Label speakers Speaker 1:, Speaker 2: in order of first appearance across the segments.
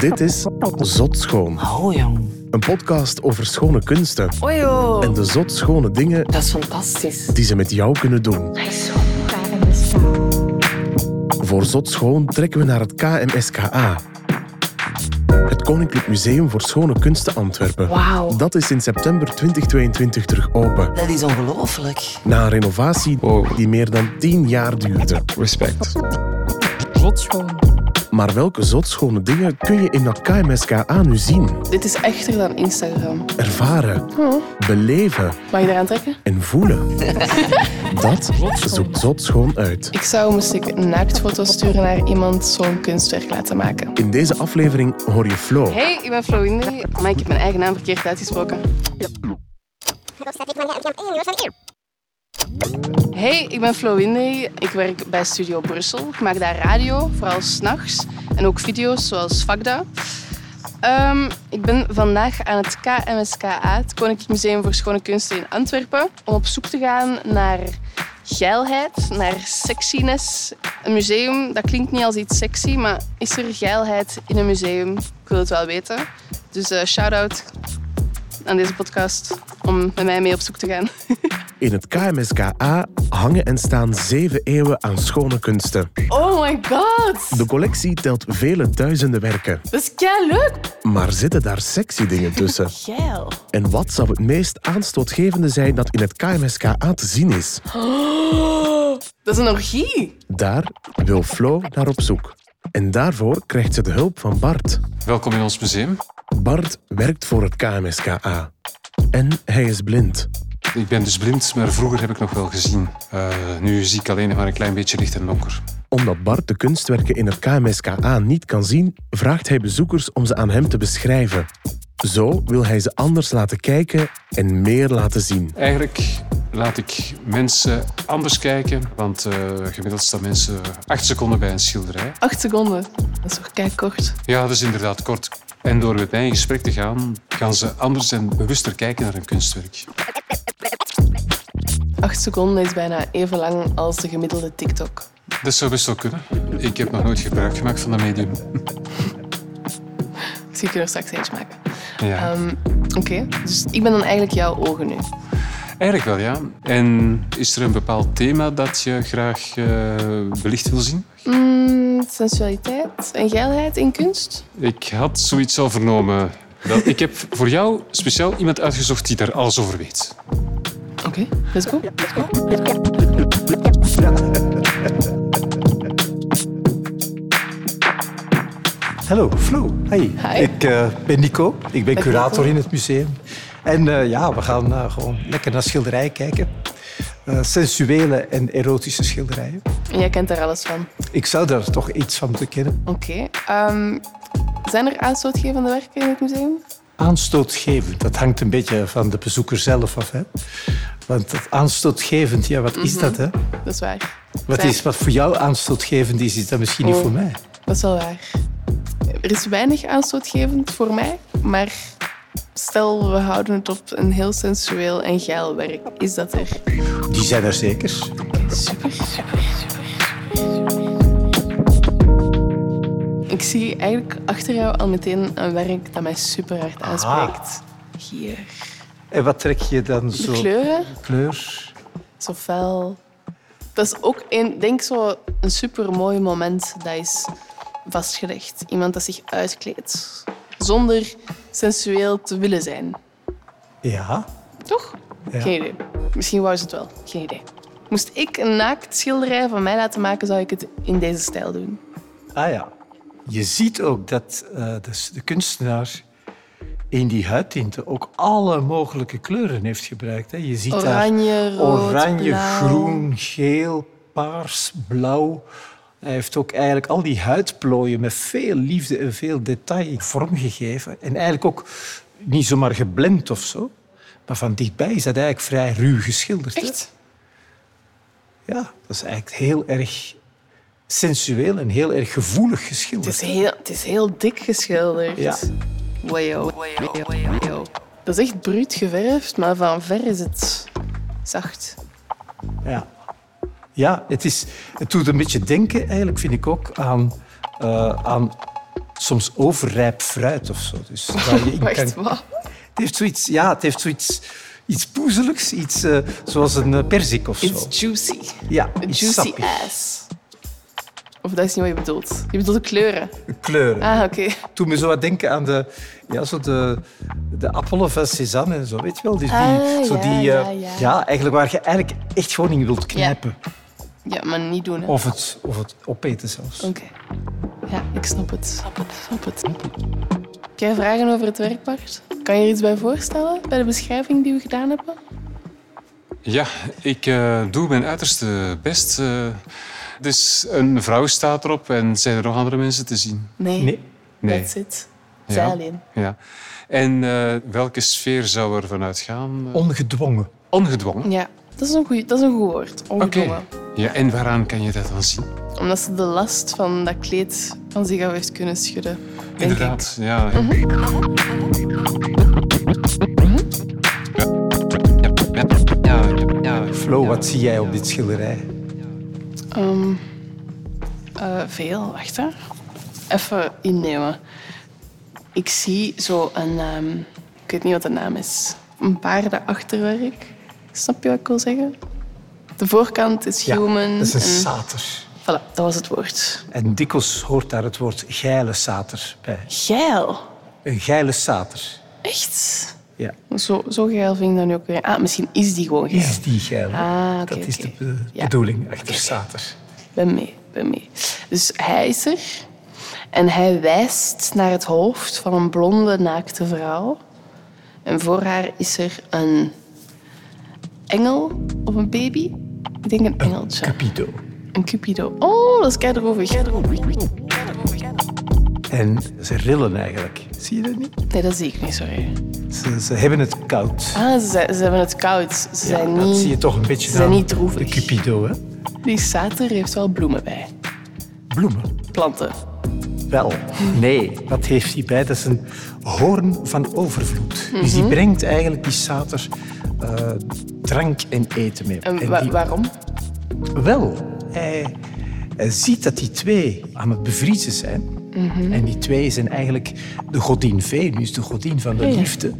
Speaker 1: Dit is Zot Schoon.
Speaker 2: Oh jong.
Speaker 1: Een podcast over schone kunsten
Speaker 2: Ojo.
Speaker 1: en de zot schone dingen
Speaker 2: Dat is fantastisch.
Speaker 1: die ze met jou kunnen doen.
Speaker 2: Dat is zo.
Speaker 1: Voor Zot Schoon trekken we naar het KMSKA. Het Koninklijk Museum voor Schone Kunsten Antwerpen.
Speaker 2: Wauw.
Speaker 1: Dat is in september 2022 terug open.
Speaker 2: Dat is ongelooflijk.
Speaker 1: Na een renovatie
Speaker 3: Wow.
Speaker 1: die meer dan 10 jaar duurde.
Speaker 3: Respect.
Speaker 1: Maar welke zotschone dingen kun je in dat KMSKA nu zien,
Speaker 4: Dit is echter dan Instagram.
Speaker 1: ervaren, beleven
Speaker 4: Mag je eraan trekken?
Speaker 1: en voelen? Dat zoekt Zotschoon uit.
Speaker 4: Ik zou moest ik een naaktfoto sturen naar iemand zo'n kunstwerk laten maken.
Speaker 1: In deze aflevering hoor je Flo.
Speaker 4: Hey, ik ben Flo Windy, maar ik heb mijn eigen naam verkeerd uitgesproken. Hey, ik ben Flo Windy. Ik werk bij Studio Brussel. Ik maak daar radio, vooral s'nachts. En ook video's zoals Vakda. Ehm, ik ben vandaag aan het KMSKA, het Koninklijk Museum voor Schone Kunsten in Antwerpen, om op zoek te gaan naar geilheid, naar sexiness. Een museum, dat klinkt niet als iets sexy, maar is er geilheid in een museum? Ik wil het wel weten. Dus eh, shout-out aan deze podcast om met mij mee op zoek te gaan.
Speaker 1: In het KMSKA hangen en staan zeven eeuwen aan schone kunsten.
Speaker 4: Oh my god!
Speaker 1: De collectie telt vele duizenden werken.
Speaker 4: Dat is kei leuk!
Speaker 1: Maar zitten daar sexy dingen tussen?
Speaker 4: Geil.
Speaker 1: En wat zou het meest aanstootgevende zijn dat in het KMSKA te zien is?
Speaker 4: dat is een orgie.
Speaker 1: Daar wil Flo naar op zoek. En daarvoor krijgt ze de hulp van Bart.
Speaker 3: Welkom in ons museum.
Speaker 1: Bart werkt voor het KMSKA. En hij is blind.
Speaker 3: Ik ben dus blind, maar vroeger heb ik nog wel gezien. Eh, nu zie ik alleen nog maar een klein beetje licht en donker.
Speaker 1: Omdat Bart de kunstwerken in het KMSKA niet kan zien, vraagt hij bezoekers om ze aan hem te beschrijven. Zo wil hij ze anders laten kijken en meer laten zien.
Speaker 3: Eigenlijk laat ik mensen anders kijken, want eh, gemiddeld staan mensen acht seconden bij een schilderij.
Speaker 4: Acht seconden. Dat is toch kei kort.
Speaker 3: Ja, dat is inderdaad kort. En door met mij in gesprek te gaan, gaan ze anders en bewuster kijken naar een kunstwerk.
Speaker 4: Acht seconden is bijna even lang als de gemiddelde TikTok.
Speaker 3: Dat zou best wel kunnen. Ik heb nog nooit gebruik gemaakt van dat medium.
Speaker 4: Ik zie ik je er straks eentje maken.
Speaker 3: Ja.
Speaker 4: Ehm, Oké, dus ik ben dan eigenlijk jouw ogen nu.
Speaker 3: Eigenlijk wel, ja. En is er een bepaald thema dat je graag eh, belicht wil zien?
Speaker 4: Mm, sensualiteit en geilheid in kunst?
Speaker 3: Ik had zoiets al vernomen. Dat, ik heb voor jou speciaal iemand uitgezocht die daar alles over weet.
Speaker 4: Oké, let's go.
Speaker 5: Hallo, Flo. Hey.
Speaker 4: Hi.
Speaker 5: Ik eh, ben Nico. Ik ben curator
Speaker 4: Nico.
Speaker 5: in het museum. En eh, ja, we gaan eh, gewoon lekker naar schilderijen kijken. Eh, sensuele en erotische schilderijen.
Speaker 4: En jij kent daar alles van.
Speaker 5: Ik zou daar toch iets van moeten kennen.
Speaker 4: Oké. ehm, zijn er aanstootgevende werken in het museum?
Speaker 5: Aanstootgevend, dat hangt een beetje van de bezoeker zelf af. Hè? Want dat aanstootgevend, ja, wat is dat? Hè?
Speaker 4: Dat is waar.
Speaker 5: Wat,
Speaker 4: Zijn-
Speaker 5: is, wat voor jou aanstootgevend is, is dat misschien niet
Speaker 4: Oh.
Speaker 5: voor mij.
Speaker 4: Dat is wel waar. Er is weinig aanstootgevend voor mij, maar stel we houden het op een heel sensueel en geil werk. Is dat er?
Speaker 5: Die zijn er zeker.
Speaker 4: Super, super, super. Ik zie eigenlijk achter jou al meteen een werk dat mij super hard aanspreekt. Hier.
Speaker 5: En wat trek je dan
Speaker 4: De
Speaker 5: zo?
Speaker 4: kleuren,
Speaker 5: Kleur.
Speaker 4: zo fel. Dat is ook een, denk zo, een super mooi moment dat is vastgelegd. Iemand dat zich uitkleedt zonder sensueel te willen zijn.
Speaker 5: Ja.
Speaker 4: Toch?
Speaker 5: Ja.
Speaker 4: Geen idee. Misschien wou ze het wel. Geen idee. Moest ik een naakt schilderij van mij laten maken, zou ik het in deze stijl doen.
Speaker 5: Ah ja. Je ziet ook dat eh, dus de kunstenaar in die huidtinten ook alle mogelijke kleuren heeft gebruikt. Hè. Je ziet
Speaker 4: Oranje,
Speaker 5: daar
Speaker 4: rood,
Speaker 5: oranje,
Speaker 4: blauw.
Speaker 5: groen, geel, paars, blauw. Hij heeft ook eigenlijk al die huidplooien met veel liefde en veel detail vormgegeven. En eigenlijk ook niet zomaar geblend of zo. Maar van dichtbij is dat eigenlijk vrij ruw geschilderd. hè.
Speaker 4: Echt?
Speaker 5: Ja, dat is eigenlijk heel erg sensueel en heel erg gevoelig geschilderd.
Speaker 4: Het is heel, het is heel dik geschilderd.
Speaker 5: Ja.
Speaker 4: Wajo, wajo, wajo. Dat is echt bruut geverfd, maar van ver is het zacht.
Speaker 5: Ja, ja het, is, het doet een beetje denken, eigenlijk vind ik ook, aan, eh, aan soms overrijp fruit of zo. Dus waar je in
Speaker 4: Wacht,
Speaker 5: kan-
Speaker 4: wat?
Speaker 5: Het heeft zoiets, ja, het heeft zoiets iets poezeligs, iets eh, zoals een eh, perzik of zo.
Speaker 2: It's juicy.
Speaker 5: ja,
Speaker 4: A
Speaker 5: iets
Speaker 4: juicy
Speaker 5: sappig.
Speaker 4: ass. Of dat is niet wat je bedoelt. Je bedoelt de kleuren.
Speaker 5: Kleuren.
Speaker 4: Ah, oké.
Speaker 5: Toen me zo wat denken aan de, ja, zo de, de appelen van Cézanne en zo, weet je wel? Dus die,
Speaker 4: Ah,
Speaker 5: zo
Speaker 4: ja,
Speaker 5: die, eh,
Speaker 4: ja, ja.
Speaker 5: eigenlijk waar je eigenlijk echt gewoon in wilt knijpen.
Speaker 4: Ja, maar niet doen,
Speaker 3: Oh.
Speaker 4: hè.
Speaker 5: Of, het, of het opeten zelfs.
Speaker 4: Oké. Ja, ik snap het. Snap het. Snap het. Heb jij vragen over het werk, Bart? Kan je er iets bij voorstellen, bij de beschrijving die we gedaan hebben?
Speaker 3: Ja, ik eh, doe mijn uiterste best. eh. dus een vrouw staat erop en zijn er nog andere mensen te zien?
Speaker 4: Nee,
Speaker 5: Nee.
Speaker 3: Nee.
Speaker 4: that's it.
Speaker 3: Ja.
Speaker 4: Zij alleen.
Speaker 3: Ja. En eh, welke sfeer zou er vanuit gaan?
Speaker 5: Ongedwongen.
Speaker 3: Ongedwongen.
Speaker 4: Ja, dat is een, goeie, dat is een goed woord.
Speaker 3: Oké.
Speaker 4: Ongedwongen.
Speaker 3: Ja, en waaraan kan je dat dan zien?
Speaker 4: Omdat ze de last van dat kleed van zich af heeft kunnen schudden. Denk
Speaker 3: Inderdaad, ja.
Speaker 5: Flo, wat zie jij op dit schilderij?
Speaker 4: ik. Ehm, eh, veel, wacht hè. Even innemen. Ik zie zo een... ehm, ik weet niet wat de naam is. Een paardenachterwerk. Snap je wat ik wil zeggen? De voorkant is human.
Speaker 5: dat is een
Speaker 4: en-
Speaker 5: sater.
Speaker 4: Voilà, dat was het woord.
Speaker 5: En dikwijls hoort daar het woord geile sater bij.
Speaker 4: Geil.
Speaker 5: Een geile sater.
Speaker 4: Echt?
Speaker 5: Ja.
Speaker 4: Zo, zo geil vind ik dat nu ook weer. Ah, misschien is die gewoon geil.
Speaker 5: Is die geil? hè?
Speaker 4: Ah, oké,
Speaker 5: dat is
Speaker 4: oké.
Speaker 5: de be-
Speaker 4: Ja.
Speaker 5: bedoeling achter sater.
Speaker 4: ben mee, ben mee. Dus hij is er en hij wijst naar het hoofd van een blonde naakte vrouw. En voor haar is er een engel of een baby. Ik denk een engeltje.
Speaker 5: Cupido.
Speaker 4: Een cupido. Oh, dat is keideroevig.
Speaker 5: En ze rillen eigenlijk. Zie je dat niet?
Speaker 4: Nee, dat zie ik niet, sorry.
Speaker 5: Ze, ze hebben het koud.
Speaker 4: Ah, ze, zijn- ze hebben het koud. Ze zijn
Speaker 5: dat
Speaker 4: niet...
Speaker 5: zie je toch een beetje
Speaker 4: ze zijn
Speaker 5: aan
Speaker 4: niet droevig.
Speaker 5: De Cupido, hè?
Speaker 4: Die sater heeft wel bloemen bij.
Speaker 5: Bloemen.
Speaker 4: Planten.
Speaker 5: Wel, nee. Wat heeft hij bij? Dat is een hoorn van overvloed. Dus die brengt eigenlijk die sater eh, drank en eten mee.
Speaker 4: En
Speaker 5: En
Speaker 4: wa-
Speaker 5: die-
Speaker 4: waarom?
Speaker 5: Wel, hij, hij ziet dat die twee aan het bevriezen zijn.
Speaker 4: Mhm.
Speaker 5: En die twee zijn eigenlijk de godin Venus, de godin van de
Speaker 4: Ja.
Speaker 5: liefde.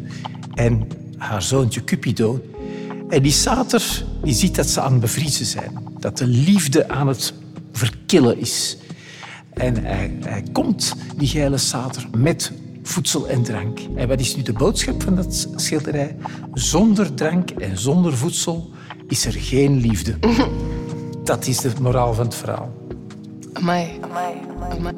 Speaker 5: En haar zoontje Cupido. En die sater die ziet dat ze aan het bevriezen zijn. Dat de liefde aan het verkillen is. En hij, hij komt, die geile sater, met voedsel en drank. En wat is nu de boodschap van dat schilderij? Zonder drank en zonder voedsel is er geen liefde. Dat is de moraal van het verhaal.
Speaker 4: Amai. Amai. Amai.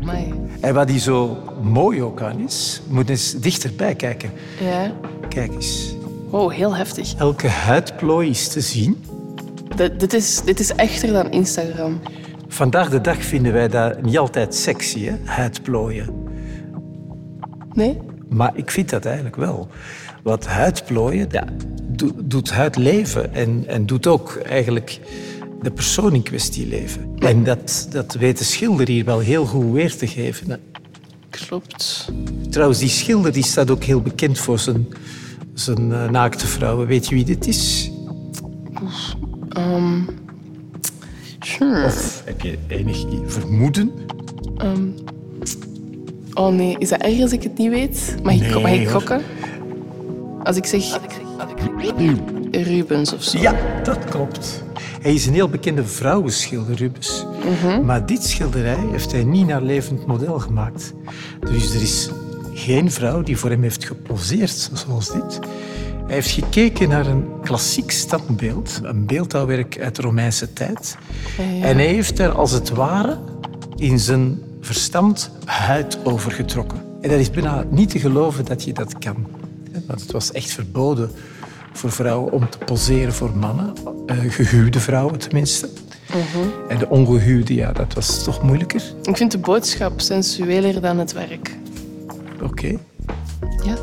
Speaker 4: Amai.
Speaker 5: En wat die zo mooi ook aan is, moet eens dichterbij kijken.
Speaker 4: Ja.
Speaker 5: Kijk eens.
Speaker 4: Wow, heel heftig.
Speaker 5: Elke huidplooi is te zien.
Speaker 4: D- dit, is, dit is echter dan Instagram.
Speaker 5: Vandaag de dag vinden wij dat niet altijd sexy, hè? huidplooien.
Speaker 4: Nee?
Speaker 5: Maar ik vind dat eigenlijk wel. Want huidplooien ja, do- doet huid leven en, en doet ook eigenlijk de persoon in kwestie leven. En dat, dat weet de schilder hier wel heel goed weer te geven. hè.
Speaker 4: Klopt.
Speaker 5: Trouwens, die schilder die staat ook heel bekend voor zijn, zijn eh, naakte vrouwen. Weet je wie dit is?
Speaker 4: Sure.
Speaker 5: Of heb je enig vermoeden?
Speaker 4: Oh nee, is dat erg als ik het niet weet? Mag ik,
Speaker 5: Nee,
Speaker 4: mag ik
Speaker 5: hoor.
Speaker 4: gokken? Als ik zeg... Rubens of zo.
Speaker 5: Ja, dat klopt. Hij is een heel bekende vrouwenschilder, Rubens. Maar dit schilderij heeft hij niet naar levend model gemaakt. Dus er is geen vrouw die voor hem heeft geposeerd zoals dit. Hij heeft gekeken naar een klassiek standbeeld, een beeldhouwwerk uit de Romeinse tijd. En hij heeft daar als het ware in zijn verstand huid over getrokken. En dat is bijna niet te geloven dat je dat kan. Want het was echt verboden voor vrouwen om te poseren voor mannen, eh, gehuwde vrouwen tenminste. En de ongehuwde, ja, dat was toch moeilijker.
Speaker 4: Ik vind de boodschap sensueler dan het werk.
Speaker 5: Oké.
Speaker 4: Ja.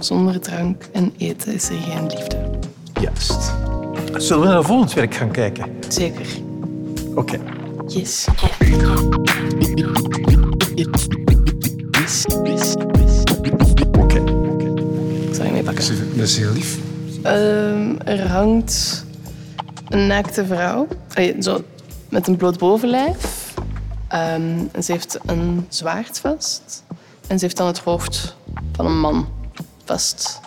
Speaker 4: Zonder drank en eten is er geen liefde.
Speaker 5: Juist. Zullen we naar volgend werk gaan kijken?
Speaker 4: Zeker.
Speaker 5: Oké.
Speaker 4: Yes.
Speaker 5: Oké.
Speaker 4: Ik zal je meepakken.
Speaker 3: Dat is heel lief.
Speaker 4: Ehm, er hangt een naakte vrouw. Eh, Zo, met een bloot bovenlijf. Ehm, en ze heeft een zwaard vast. En ze heeft dan het hoofd van een man vast.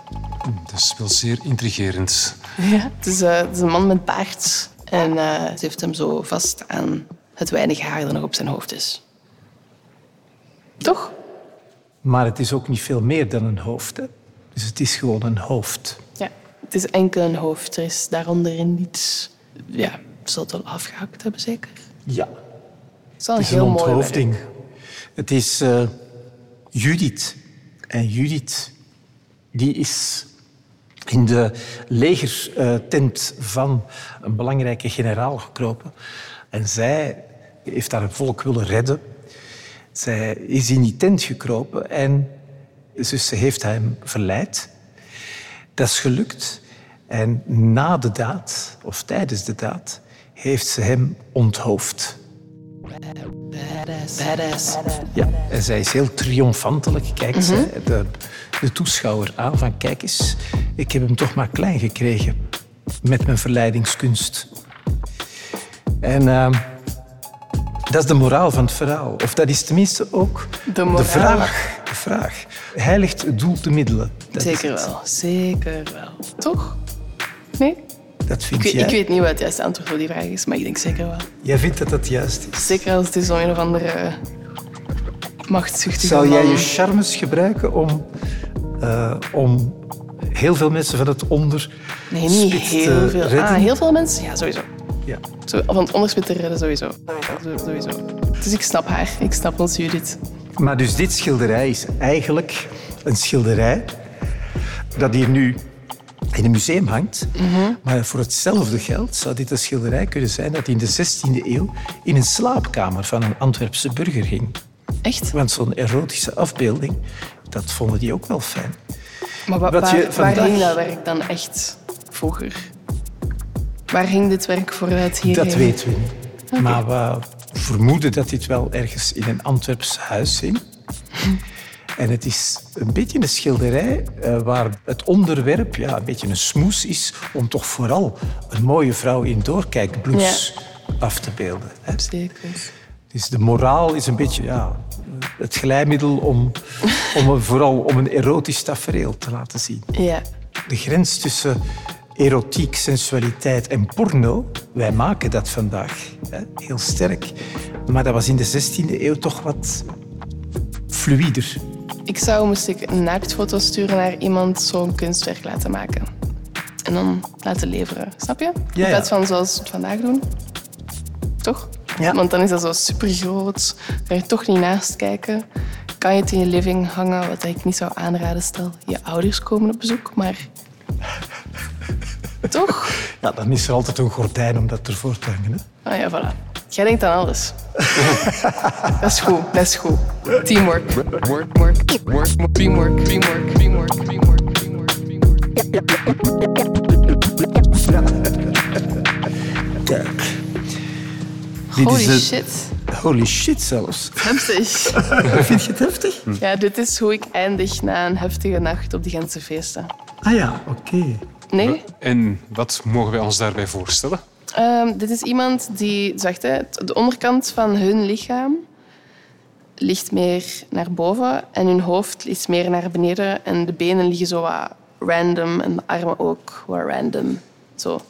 Speaker 3: Dat is wel zeer intrigerend.
Speaker 4: Ja, het is, eh, het is een man met baard. En eh, ze heeft hem zo vast aan het weinig haar dat nog op zijn hoofd is. Toch?
Speaker 5: Maar het is ook niet veel meer dan een hoofd. Hè? Dus het is gewoon een hoofd.
Speaker 4: Ja. Het is enkel een hoofd. Er is daaronder niets... Ja, ze zal het wel afgehakt hebben, zeker?
Speaker 5: Ja.
Speaker 4: Het is wel een
Speaker 5: Het is
Speaker 4: heel
Speaker 5: een
Speaker 4: mooi werk.
Speaker 5: onthoofding. Het is eh, Judith. En Judith, die is in de legertent van een belangrijke generaal gekropen. En zij heeft haar volk willen redden. Zij is in die tent gekropen en dus ze heeft hem verleid. Dat is gelukt. En na de daad, of tijdens de daad, heeft ze hem onthoofd.
Speaker 4: Badass.
Speaker 5: Ja, en zij is heel triomfantelijk. Kijkt
Speaker 4: Mhm.
Speaker 5: zij de, de toeschouwer aan van kijk eens, ik heb hem toch maar klein gekregen met mijn verleidingskunst. En ehm, dat is de moraal van het verhaal. Of dat is tenminste ook
Speaker 4: moraal.
Speaker 5: vraag. De vraag. Heiligt het doel de middelen. Dat is
Speaker 4: Zeker
Speaker 5: het.
Speaker 4: wel. Zeker wel. Toch? Nee?
Speaker 5: Dat vind
Speaker 4: Ik, weet-
Speaker 5: jij.
Speaker 4: ik weet niet wat het juiste antwoord op die vraag is, maar ik denk zeker wel.
Speaker 5: Jij vindt dat dat juist is.
Speaker 4: Zeker als het is om een of andere eh, machtszuchtige
Speaker 5: Zou jij
Speaker 4: man.
Speaker 5: je charmes gebruiken om, eh, om heel veel mensen van het onder
Speaker 4: Nee, niet
Speaker 5: spit te
Speaker 4: heel veel.
Speaker 5: redden?
Speaker 4: Ah, heel veel mensen? Ja, sowieso.
Speaker 5: Ja.
Speaker 4: Zo- Van het onderspit te redden, sowieso. Zo- sowieso. Dus ik snap haar. Ik snap ons Judith.
Speaker 5: Maar dus dit schilderij is eigenlijk een schilderij dat hier nu in een museum hangt. Maar voor hetzelfde geld zou dit een schilderij kunnen zijn dat in de 16e eeuw in een slaapkamer van een Antwerpse burger ging.
Speaker 4: Echt?
Speaker 5: Want zo'n erotische afbeelding, dat vonden die ook wel fijn.
Speaker 4: Maar wa-
Speaker 5: Wat
Speaker 4: waar,
Speaker 5: je
Speaker 4: waar
Speaker 5: vandaag-
Speaker 4: hing dat werk dan echt vroeger? Waar hing dit werk vooruit hierheen?
Speaker 5: Dat weten we niet. Maar we vermoeden dat dit wel ergens in een Antwerps huis hing. En het is een beetje een schilderij eh, waar het onderwerp ja, een beetje een smoes is om toch vooral een mooie vrouw in doorkijkblouse af te beelden. hè.
Speaker 4: Zeker.
Speaker 5: Dus de moraal is een beetje ja, het glijmiddel om, om een- vooral om een erotisch tafereel te laten zien.
Speaker 4: Ja.
Speaker 5: De grens tussen erotiek, sensualiteit en porno, wij maken dat vandaag hè, heel sterk. Maar dat was in de 16e eeuw toch wat fluider.
Speaker 4: Ik zou moest ik een naaktfoto sturen naar iemand zo'n kunstwerk laten maken. En dan laten leveren, snap je?
Speaker 5: Ja,
Speaker 4: In
Speaker 5: ja.
Speaker 4: plaats van zoals we het vandaag doen. Toch?
Speaker 5: Ja.
Speaker 4: Want dan is dat zo supergroot. Kan je toch niet naast kijken. Kan je het in je living hangen, wat ik niet zou aanraden. Stel, je ouders komen op bezoek, maar... toch?
Speaker 5: Ja, dan is er altijd een gordijn om dat ervoor te hangen. Hè?
Speaker 4: Ah ja, voilà. Jij denkt aan alles. dat is goed, dat is goed. Teamwork. Work, work, work, work. Teamwork, teamwork, teamwork, teamwork, teamwork, teamwork.
Speaker 5: Kijk.
Speaker 4: Holy
Speaker 5: het-
Speaker 4: shit.
Speaker 5: Holy shit zelfs.
Speaker 4: Heftig.
Speaker 5: Vind je het heftig?
Speaker 4: Ja, dit is hoe ik eindig na een heftige nacht op de Gentse feesten.
Speaker 5: Ah ja, oké.
Speaker 4: Nee?
Speaker 3: En wat mogen wij ons daarbij voorstellen?
Speaker 4: Ehm, dit is iemand die, zegt hè, t- de onderkant van hun lichaam ligt meer naar boven en hun hoofd is meer naar beneden en de benen liggen zo wat random en de armen ook wat random. Zo.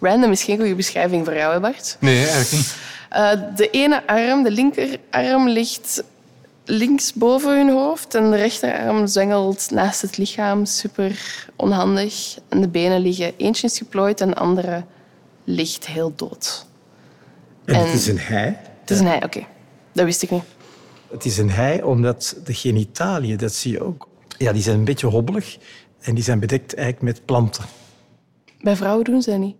Speaker 4: Random is geen goede beschrijving voor jou, hè, Bart.
Speaker 3: Nee, eigenlijk niet.
Speaker 4: Eh, de ene arm, de linkerarm, ligt links boven hun hoofd en de rechterarm zwengelt naast het lichaam, super onhandig. En de benen liggen, eentje is geplooid en de andere ligt heel dood.
Speaker 5: En,
Speaker 4: En-
Speaker 5: het is een hij.
Speaker 4: Het is een hij, oké. Dat wist ik niet.
Speaker 5: Het is een hij omdat de genitaliën, dat zie je ook, ja, die zijn een beetje hobbelig en die zijn bedekt eigenlijk met planten.
Speaker 4: Bij vrouwen doen ze dat niet.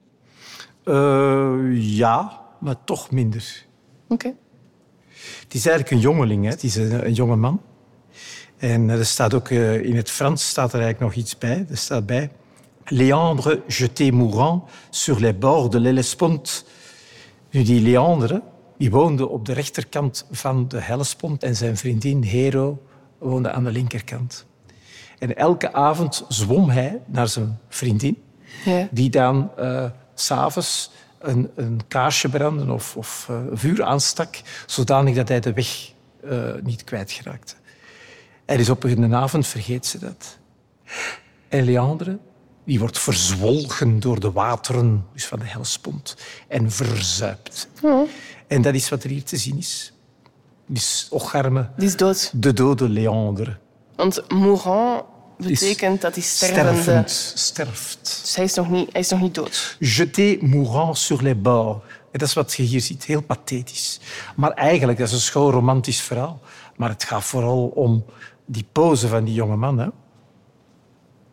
Speaker 5: Eh, ja, maar toch minder.
Speaker 4: Oké.
Speaker 5: Het is eigenlijk een jongeling, hè? het is een, een jonge man. En eh, er staat ook eh, in het Frans staat er eigenlijk nog iets bij. Er staat bij. Léandre jeté mourant sur les bords de l'Hellespont. Nu, die Léandre die woonde op de rechterkant van de Hellespont en zijn vriendin Hero woonde aan de linkerkant. En elke avond zwom hij naar zijn vriendin
Speaker 4: Ja.
Speaker 5: die dan eh, s s'avonds een, een kaarsje branden of, of eh, vuur aanstak, zodanig dat hij de weg eh, niet kwijtgeraakte. Er is op een avond, vergeet ze dat. En Leandre, die wordt verzwolgen door de wateren dus van de helspont en verzuipt. En dat is wat er hier te zien is. Dus ocharme,
Speaker 4: Die is dood.
Speaker 5: de dode Leandre.
Speaker 4: Want mourant betekent dat hij stervende...
Speaker 5: Stervend, sterft.
Speaker 4: Dus hij is nog niet, hij is nog niet dood.
Speaker 5: Jeter mourant sur les bords. En dat is wat je hier ziet, heel pathetisch. Maar eigenlijk, dat is een schoon romantisch verhaal. Maar het gaat vooral om die pose van die jonge man. Hè?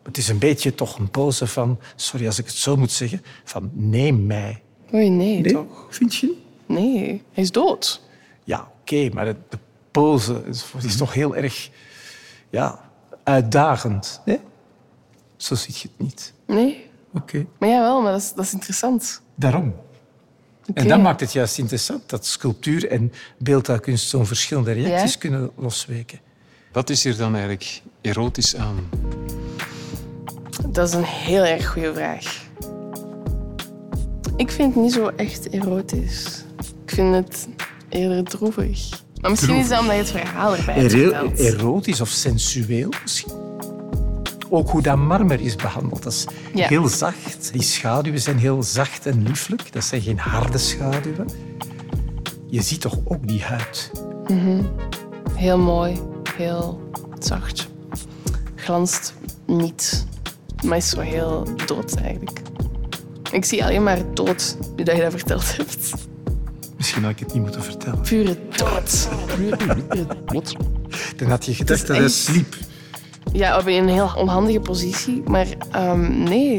Speaker 5: Het is een beetje toch een pose van, sorry als ik het zo moet zeggen, van neem mij.
Speaker 4: Oei, nee, toch?
Speaker 5: Vind je?
Speaker 4: Nee, hij is dood.
Speaker 5: Ja, oké, maar het- de pose is, is toch heel erg ja, uitdagend. Hè? Zo ziet je het niet.
Speaker 4: Nee.
Speaker 5: Oké.
Speaker 4: Maar jawel, maar dat is, dat is interessant.
Speaker 5: Daarom.
Speaker 4: Oké.
Speaker 5: En dat maakt het juist interessant, dat sculptuur en beeldhouwkunst zo'n verschillende reacties
Speaker 4: Ja.
Speaker 5: kunnen losweken.
Speaker 3: Wat is hier dan eigenlijk erotisch aan?
Speaker 4: Dat is een heel erg goede vraag. Ik vind het niet zo echt erotisch. Ik vind het eerder droevig. Maar misschien is dat omdat je het verhaal erbij hebt
Speaker 5: Ero-
Speaker 4: verteld.
Speaker 5: erotisch of sensueel misschien. Ook hoe dat marmer is behandeld, dat is
Speaker 4: Ja.
Speaker 5: heel zacht. Die schaduwen zijn heel zacht en lieflijk, dat zijn geen harde schaduwen. Je ziet toch ook die huid.
Speaker 4: Heel mooi, heel zacht. Glanst niet. Maar is zo heel dood eigenlijk. Ik zie alleen maar dood, nu dat je dat verteld hebt.
Speaker 5: Misschien had ik het niet moeten vertellen.
Speaker 4: Pure dood.
Speaker 5: Dan had je gedacht dat
Speaker 4: echt-
Speaker 5: hij sliep.
Speaker 4: Ja, op een heel onhandige positie. Maar ehm, nee,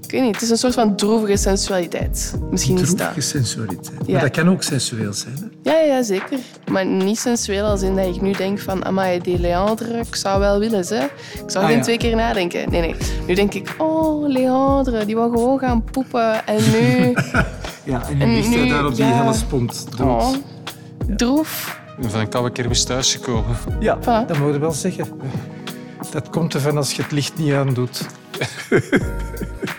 Speaker 4: ik weet niet. Het is een soort van droevige sensualiteit. Misschien is dat.
Speaker 5: Droevige sensualiteit.
Speaker 4: Ja.
Speaker 5: Maar dat kan ook sensueel zijn. Hè?
Speaker 4: Ja, ja, zeker. Maar niet sensueel als in dat ik nu denk van... Amai, die Leandre, ik zou wel willen, hè. Ik zou
Speaker 5: Ah,
Speaker 4: geen
Speaker 5: ja.
Speaker 4: twee keer nadenken. Nee, nee. Nu denk ik, oh, Leandre, die wou gewoon gaan poepen. En nu...
Speaker 5: Ja, en
Speaker 4: En
Speaker 5: dan ligt hij
Speaker 4: nu-
Speaker 5: daar op die
Speaker 4: ja.
Speaker 5: hele spont. dood.
Speaker 4: Oh, droef.
Speaker 3: Van een koude kermis thuisgekomen.
Speaker 5: Ja,
Speaker 4: Voilà.
Speaker 5: dat mogen we wel zeggen. Dat komt ervan als je het licht niet aandoet.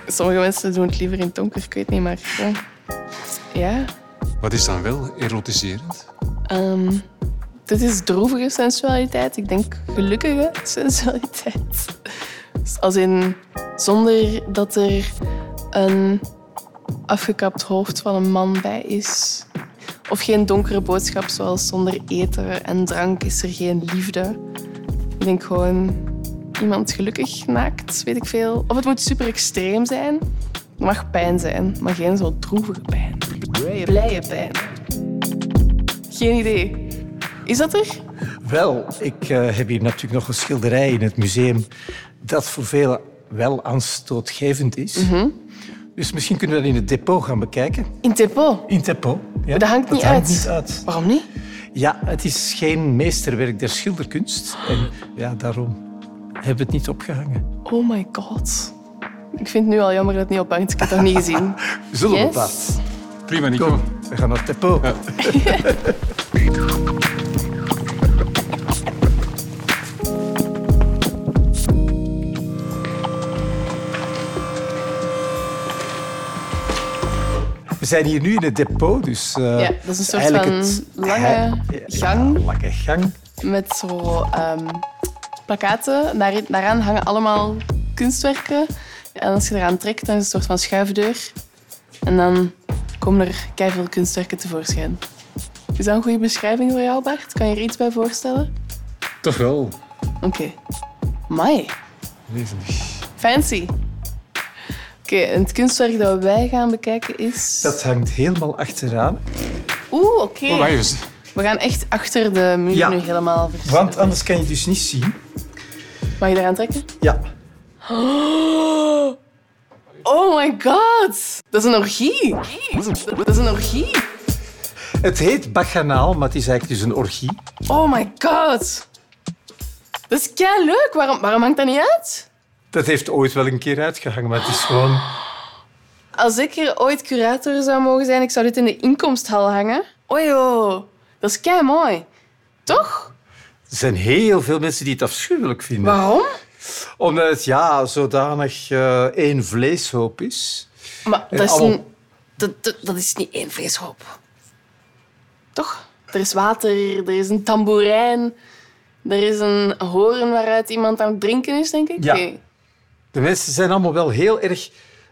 Speaker 4: Sommige mensen doen het liever in het donker, ik weet niet, maar... Ja. ja.
Speaker 3: Wat is dan wel erotiserend?
Speaker 4: ehm, dit is droevige sensualiteit. Ik denk gelukkige sensualiteit. Dus als in zonder dat er een afgekapt hoofd van een man bij is. Of geen donkere boodschap zoals zonder eten en drank is er geen liefde. Ik denk gewoon iemand gelukkig naakt, weet ik veel. Of het moet super extreem zijn. Het mag pijn zijn, maar geen zo droevige pijn. Blije pijn. Geen idee. Is dat er?
Speaker 5: Wel, ik eh, heb hier natuurlijk nog een schilderij in het museum dat voor velen wel aanstootgevend is.
Speaker 4: Mhm.
Speaker 5: Dus misschien kunnen we dat in het depot gaan bekijken.
Speaker 4: In Tepo?
Speaker 5: In het depot. Ja?
Speaker 4: Dat hangt niet uit.
Speaker 5: niet uit.
Speaker 4: Waarom niet?
Speaker 5: Ja, het is geen meesterwerk der schilderkunst. En ja, daarom hebben we het niet opgehangen.
Speaker 4: Oh my god. Ik vind het nu al jammer dat het niet ophangt. Ik heb het nog niet gezien.
Speaker 5: Zullen
Speaker 4: Yes.
Speaker 5: we dat?
Speaker 3: Prima, Nico.
Speaker 5: Kom, we gaan naar het depot. We zijn hier nu in het depot, dus... eh,
Speaker 4: Ja, dat is een soort
Speaker 5: eigenlijk
Speaker 4: van
Speaker 5: het-
Speaker 4: lange
Speaker 5: Ja,
Speaker 4: gang.
Speaker 5: lange gang.
Speaker 4: Met zo ehm, plakaten. Daar, daaraan hangen allemaal kunstwerken. En als je eraan trekt, dan is het een soort van schuifdeur. En dan komen er keiveel kunstwerken tevoorschijn. Is dat een goede beschrijving voor jou, Bart? Kan je er iets bij voorstellen?
Speaker 3: Toch wel.
Speaker 4: Oké. Mai.
Speaker 3: Levendig.
Speaker 4: Fancy. Oké, en het kunstwerk dat wij gaan bekijken is...
Speaker 5: Dat hangt helemaal achteraan.
Speaker 4: Oeh, oké.
Speaker 3: Oh, wacht eens.
Speaker 4: We gaan echt achter de muur
Speaker 5: Ja.
Speaker 4: nu helemaal verschijnen.
Speaker 5: Want anders kan je dus niet zien.
Speaker 4: Mag je daaraan trekken?
Speaker 5: Ja,
Speaker 4: Oh my god! Dat is een orgie! Dat is een orgie!
Speaker 5: het heet bacchanaal, maar het is eigenlijk dus een orgie.
Speaker 4: Oh my god! Dat is kei leuk! Waarom, waarom hangt dat niet uit?
Speaker 5: Dat heeft ooit wel een keer uitgehangen, maar het is gewoon...
Speaker 4: Als ik hier ooit curator zou mogen zijn, ik zou dit in de inkomsthal hangen. Oei, oh, dat is kei mooi. Toch?
Speaker 5: Er zijn heel veel mensen die het afschuwelijk vinden.
Speaker 4: Waarom?
Speaker 5: Omdat het ja, zodanig eh één vleeshoop is.
Speaker 4: Maar
Speaker 5: En
Speaker 4: dat is
Speaker 5: allemaal
Speaker 4: een
Speaker 2: Dat, dat, dat is niet één vleeshoop.
Speaker 4: Toch? Er is water, er is een tamboerijn, er is een horen waaruit iemand aan het drinken is, denk ik.
Speaker 5: Ja.
Speaker 4: Oké,
Speaker 5: De mensen zijn allemaal wel heel erg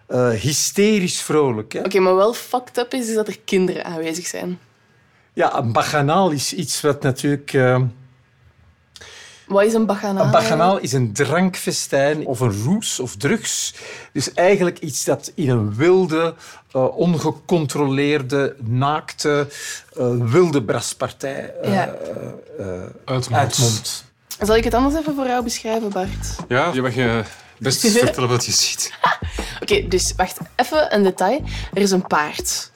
Speaker 5: eh, hysterisch vrolijk. Hè?
Speaker 4: Oké, maar wel fucked up is, is dat er kinderen aanwezig zijn.
Speaker 5: Ja, een baganaal is iets wat natuurlijk... eh,
Speaker 4: Wat is een baganaal?
Speaker 5: een baganaal is een drankfestijn of een roes of drugs. Dus eigenlijk iets dat in een wilde, eh, ongecontroleerde, naakte, eh, wilde braspartij eh,
Speaker 4: Ja.
Speaker 5: eh,
Speaker 3: Uitmonds.
Speaker 5: uitmondt.
Speaker 4: Zal ik het anders even voor jou beschrijven, Bart?
Speaker 3: Ja, je mag je best vertellen wat je ziet.
Speaker 4: Oké, dus wacht even een detail. Er is een paard.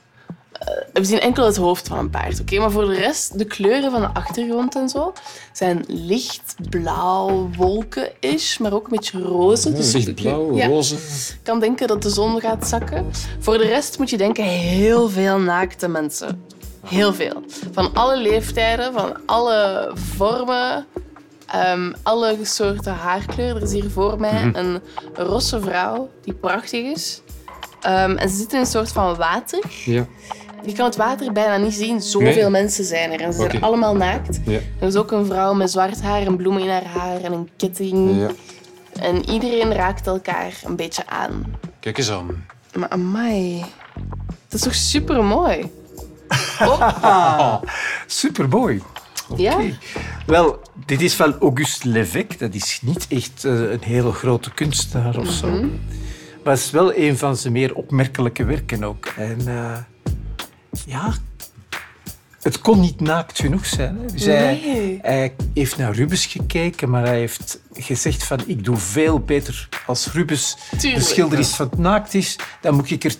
Speaker 4: Eh, we zien enkel het hoofd van een paard, oké? Maar voor de rest, de kleuren van de achtergrond en zo zijn licht blauw, wolken-ish, maar ook een beetje roze. Dus de kleur-
Speaker 3: blauw,
Speaker 4: Ja.
Speaker 3: roze.
Speaker 4: kan denken dat de zon gaat zakken. Voor de rest moet je denken heel veel naakte mensen. Heel veel. Van alle leeftijden, van alle vormen, ehm, alle soorten haarkleur. Er is hier voor mij
Speaker 3: Mhm.
Speaker 4: een rosse vrouw die prachtig is. Ehm, en ze zit in een soort van water.
Speaker 3: Ja.
Speaker 4: Je kan het water bijna niet zien. Zoveel
Speaker 3: Nee.
Speaker 4: mensen zijn er en ze zijn
Speaker 3: Oké.
Speaker 4: allemaal naakt.
Speaker 3: Ja.
Speaker 4: Er is ook een vrouw met zwart haar en bloemen in haar haar en een ketting.
Speaker 3: ja.
Speaker 4: En iedereen raakt elkaar een beetje aan.
Speaker 3: Kijk eens aan.
Speaker 4: Maar amai. Dat is toch super mooi?
Speaker 5: Supermooi. Oké.
Speaker 4: Ja.
Speaker 5: Wel, dit is van Auguste Levesque. Dat is niet echt eh, een hele grote kunstenaar of zo.
Speaker 4: Mhm.
Speaker 5: Maar het is wel een van zijn meer opmerkelijke werken ook. En eh, ja, het kon niet naakt genoeg zijn. hè. Dus hij,
Speaker 4: Nee.
Speaker 5: hij heeft naar Rubens gekeken, maar hij heeft gezegd van ik doe veel beter als Rubens
Speaker 4: Tuurlijk.
Speaker 5: een schilder is van het naakt is, dan moet ik er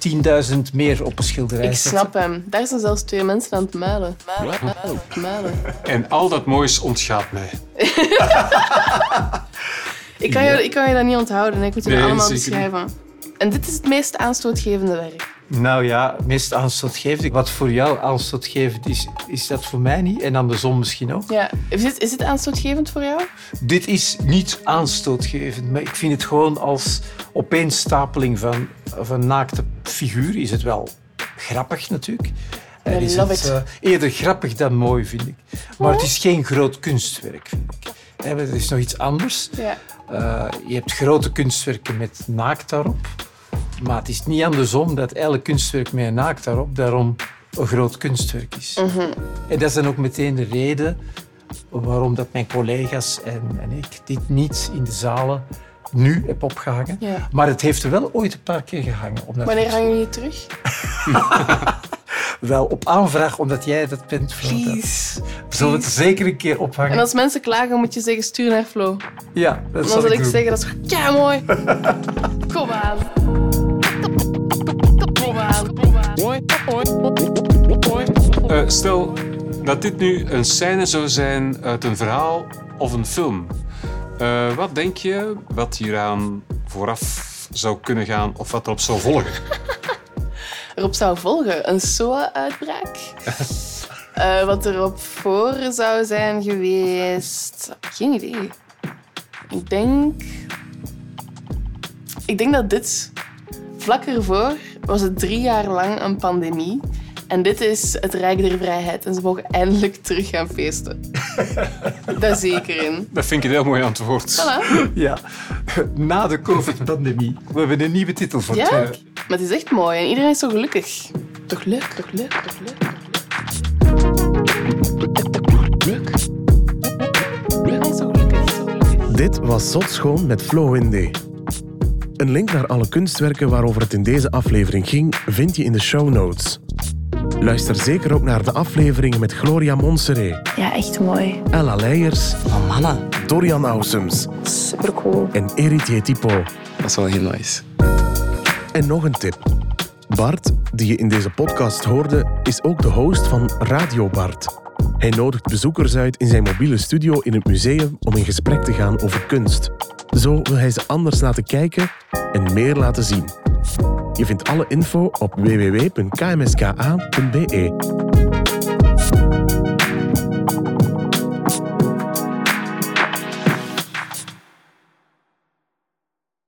Speaker 5: 10.000 meer op een schilderij
Speaker 4: Ik
Speaker 5: zetten.
Speaker 4: snap hem. Daar zijn zelfs twee mensen aan het muilen. Muilen, muilen, muilen.
Speaker 3: En al dat moois ontgaat mij.
Speaker 4: Ik kan, je, ik kan je dat niet onthouden. hè. Ik moet het
Speaker 3: Nee,
Speaker 4: allemaal
Speaker 3: zeker niet.
Speaker 4: beschrijven. En dit is het meest aanstootgevende werk.
Speaker 5: Nou ja, meest aanstootgevend. Wat voor jou aanstootgevend is, is dat voor mij niet. En andersom misschien ook.
Speaker 4: Ja. Is, dit, is dit aanstootgevend voor jou?
Speaker 5: Dit is niet aanstootgevend, maar ik vind het gewoon als opeenstapeling van, van naakte figuren is het wel grappig natuurlijk. En
Speaker 4: I
Speaker 5: is
Speaker 4: love
Speaker 5: het
Speaker 4: it.
Speaker 5: eh, eerder grappig dan mooi, vind ik. Maar het is geen groot kunstwerk, vind ik. Hè, maar Het is nog iets anders.
Speaker 4: Ja.
Speaker 5: Eh, je hebt grote kunstwerken met naakt daarop. Maar het is niet andersom dat elk kunstwerk met een naakt daarop daarom een groot kunstwerk is.
Speaker 4: Mhm.
Speaker 5: En dat is dan ook meteen de reden waarom dat mijn collega's en, en ik dit niet in de zalen nu heb opgehangen.
Speaker 4: Ja.
Speaker 5: Maar het heeft er wel ooit een paar keer gehangen. Omdat
Speaker 4: Wanneer
Speaker 5: het-
Speaker 4: hangen jullie terug?
Speaker 5: Wel op aanvraag, omdat jij dat bent. Flo.
Speaker 4: Please.
Speaker 5: Dat- Zullen we het zeker een keer ophangen?
Speaker 4: En als mensen klagen, moet je zeggen stuur naar Flo.
Speaker 5: Ja, dat
Speaker 4: Dan
Speaker 5: zal
Speaker 4: zal ik
Speaker 5: doen.
Speaker 4: zeggen dat is ja mooi. Kom aan. Kom aan. Kom aan.
Speaker 3: Eh, stel dat dit nu een scène zou zijn uit een verhaal of een film. Eh, wat denk je wat hieraan vooraf zou kunnen gaan of wat erop zou volgen?
Speaker 4: erop zou volgen. Een SOA-uitbraak. Eh, wat erop voor zou zijn geweest. Geen idee. Ik denk. Ik denk dat dit. Vlak ervoor was het drie jaar lang een pandemie. En dit is het Rijk der Vrijheid. En ze mogen eindelijk terug gaan feesten. Daar zie ik er in.
Speaker 3: Dat vind ik een heel mooi antwoord.
Speaker 4: Voilà.
Speaker 5: Ja, na de COVID-pandemie. We hebben een nieuwe titel voor
Speaker 4: Ja?
Speaker 5: het
Speaker 4: Maar
Speaker 5: werk.
Speaker 4: het is echt mooi. En iedereen is zo gelukkig. Toch leuk, toch leuk, toch leuk. Toch leuk. Iedereen is zo gelukkig, zo gelukkig.
Speaker 1: Dit was Zot Schoon met Flo Winde. Een link naar alle kunstwerken waarover het in deze aflevering ging, vind je in de show notes. Luister zeker ook naar de afleveringen met Gloria Monserrat,
Speaker 6: Ja, echt mooi.
Speaker 1: Ella Leijers,
Speaker 2: Oh, mannen.
Speaker 1: Dorian Ausums
Speaker 6: Supercool.
Speaker 1: en Erit Tipo.
Speaker 2: Dat is wel heel nice.
Speaker 1: En nog een tip. Bart, die je in deze podcast hoorde, is ook de host van Radio Bart. Hij nodigt bezoekers uit in zijn mobiele studio in het museum om in gesprek te gaan over kunst. Zo wil hij ze anders laten kijken en meer laten zien. e. Je vindt alle info op www.kmska.be.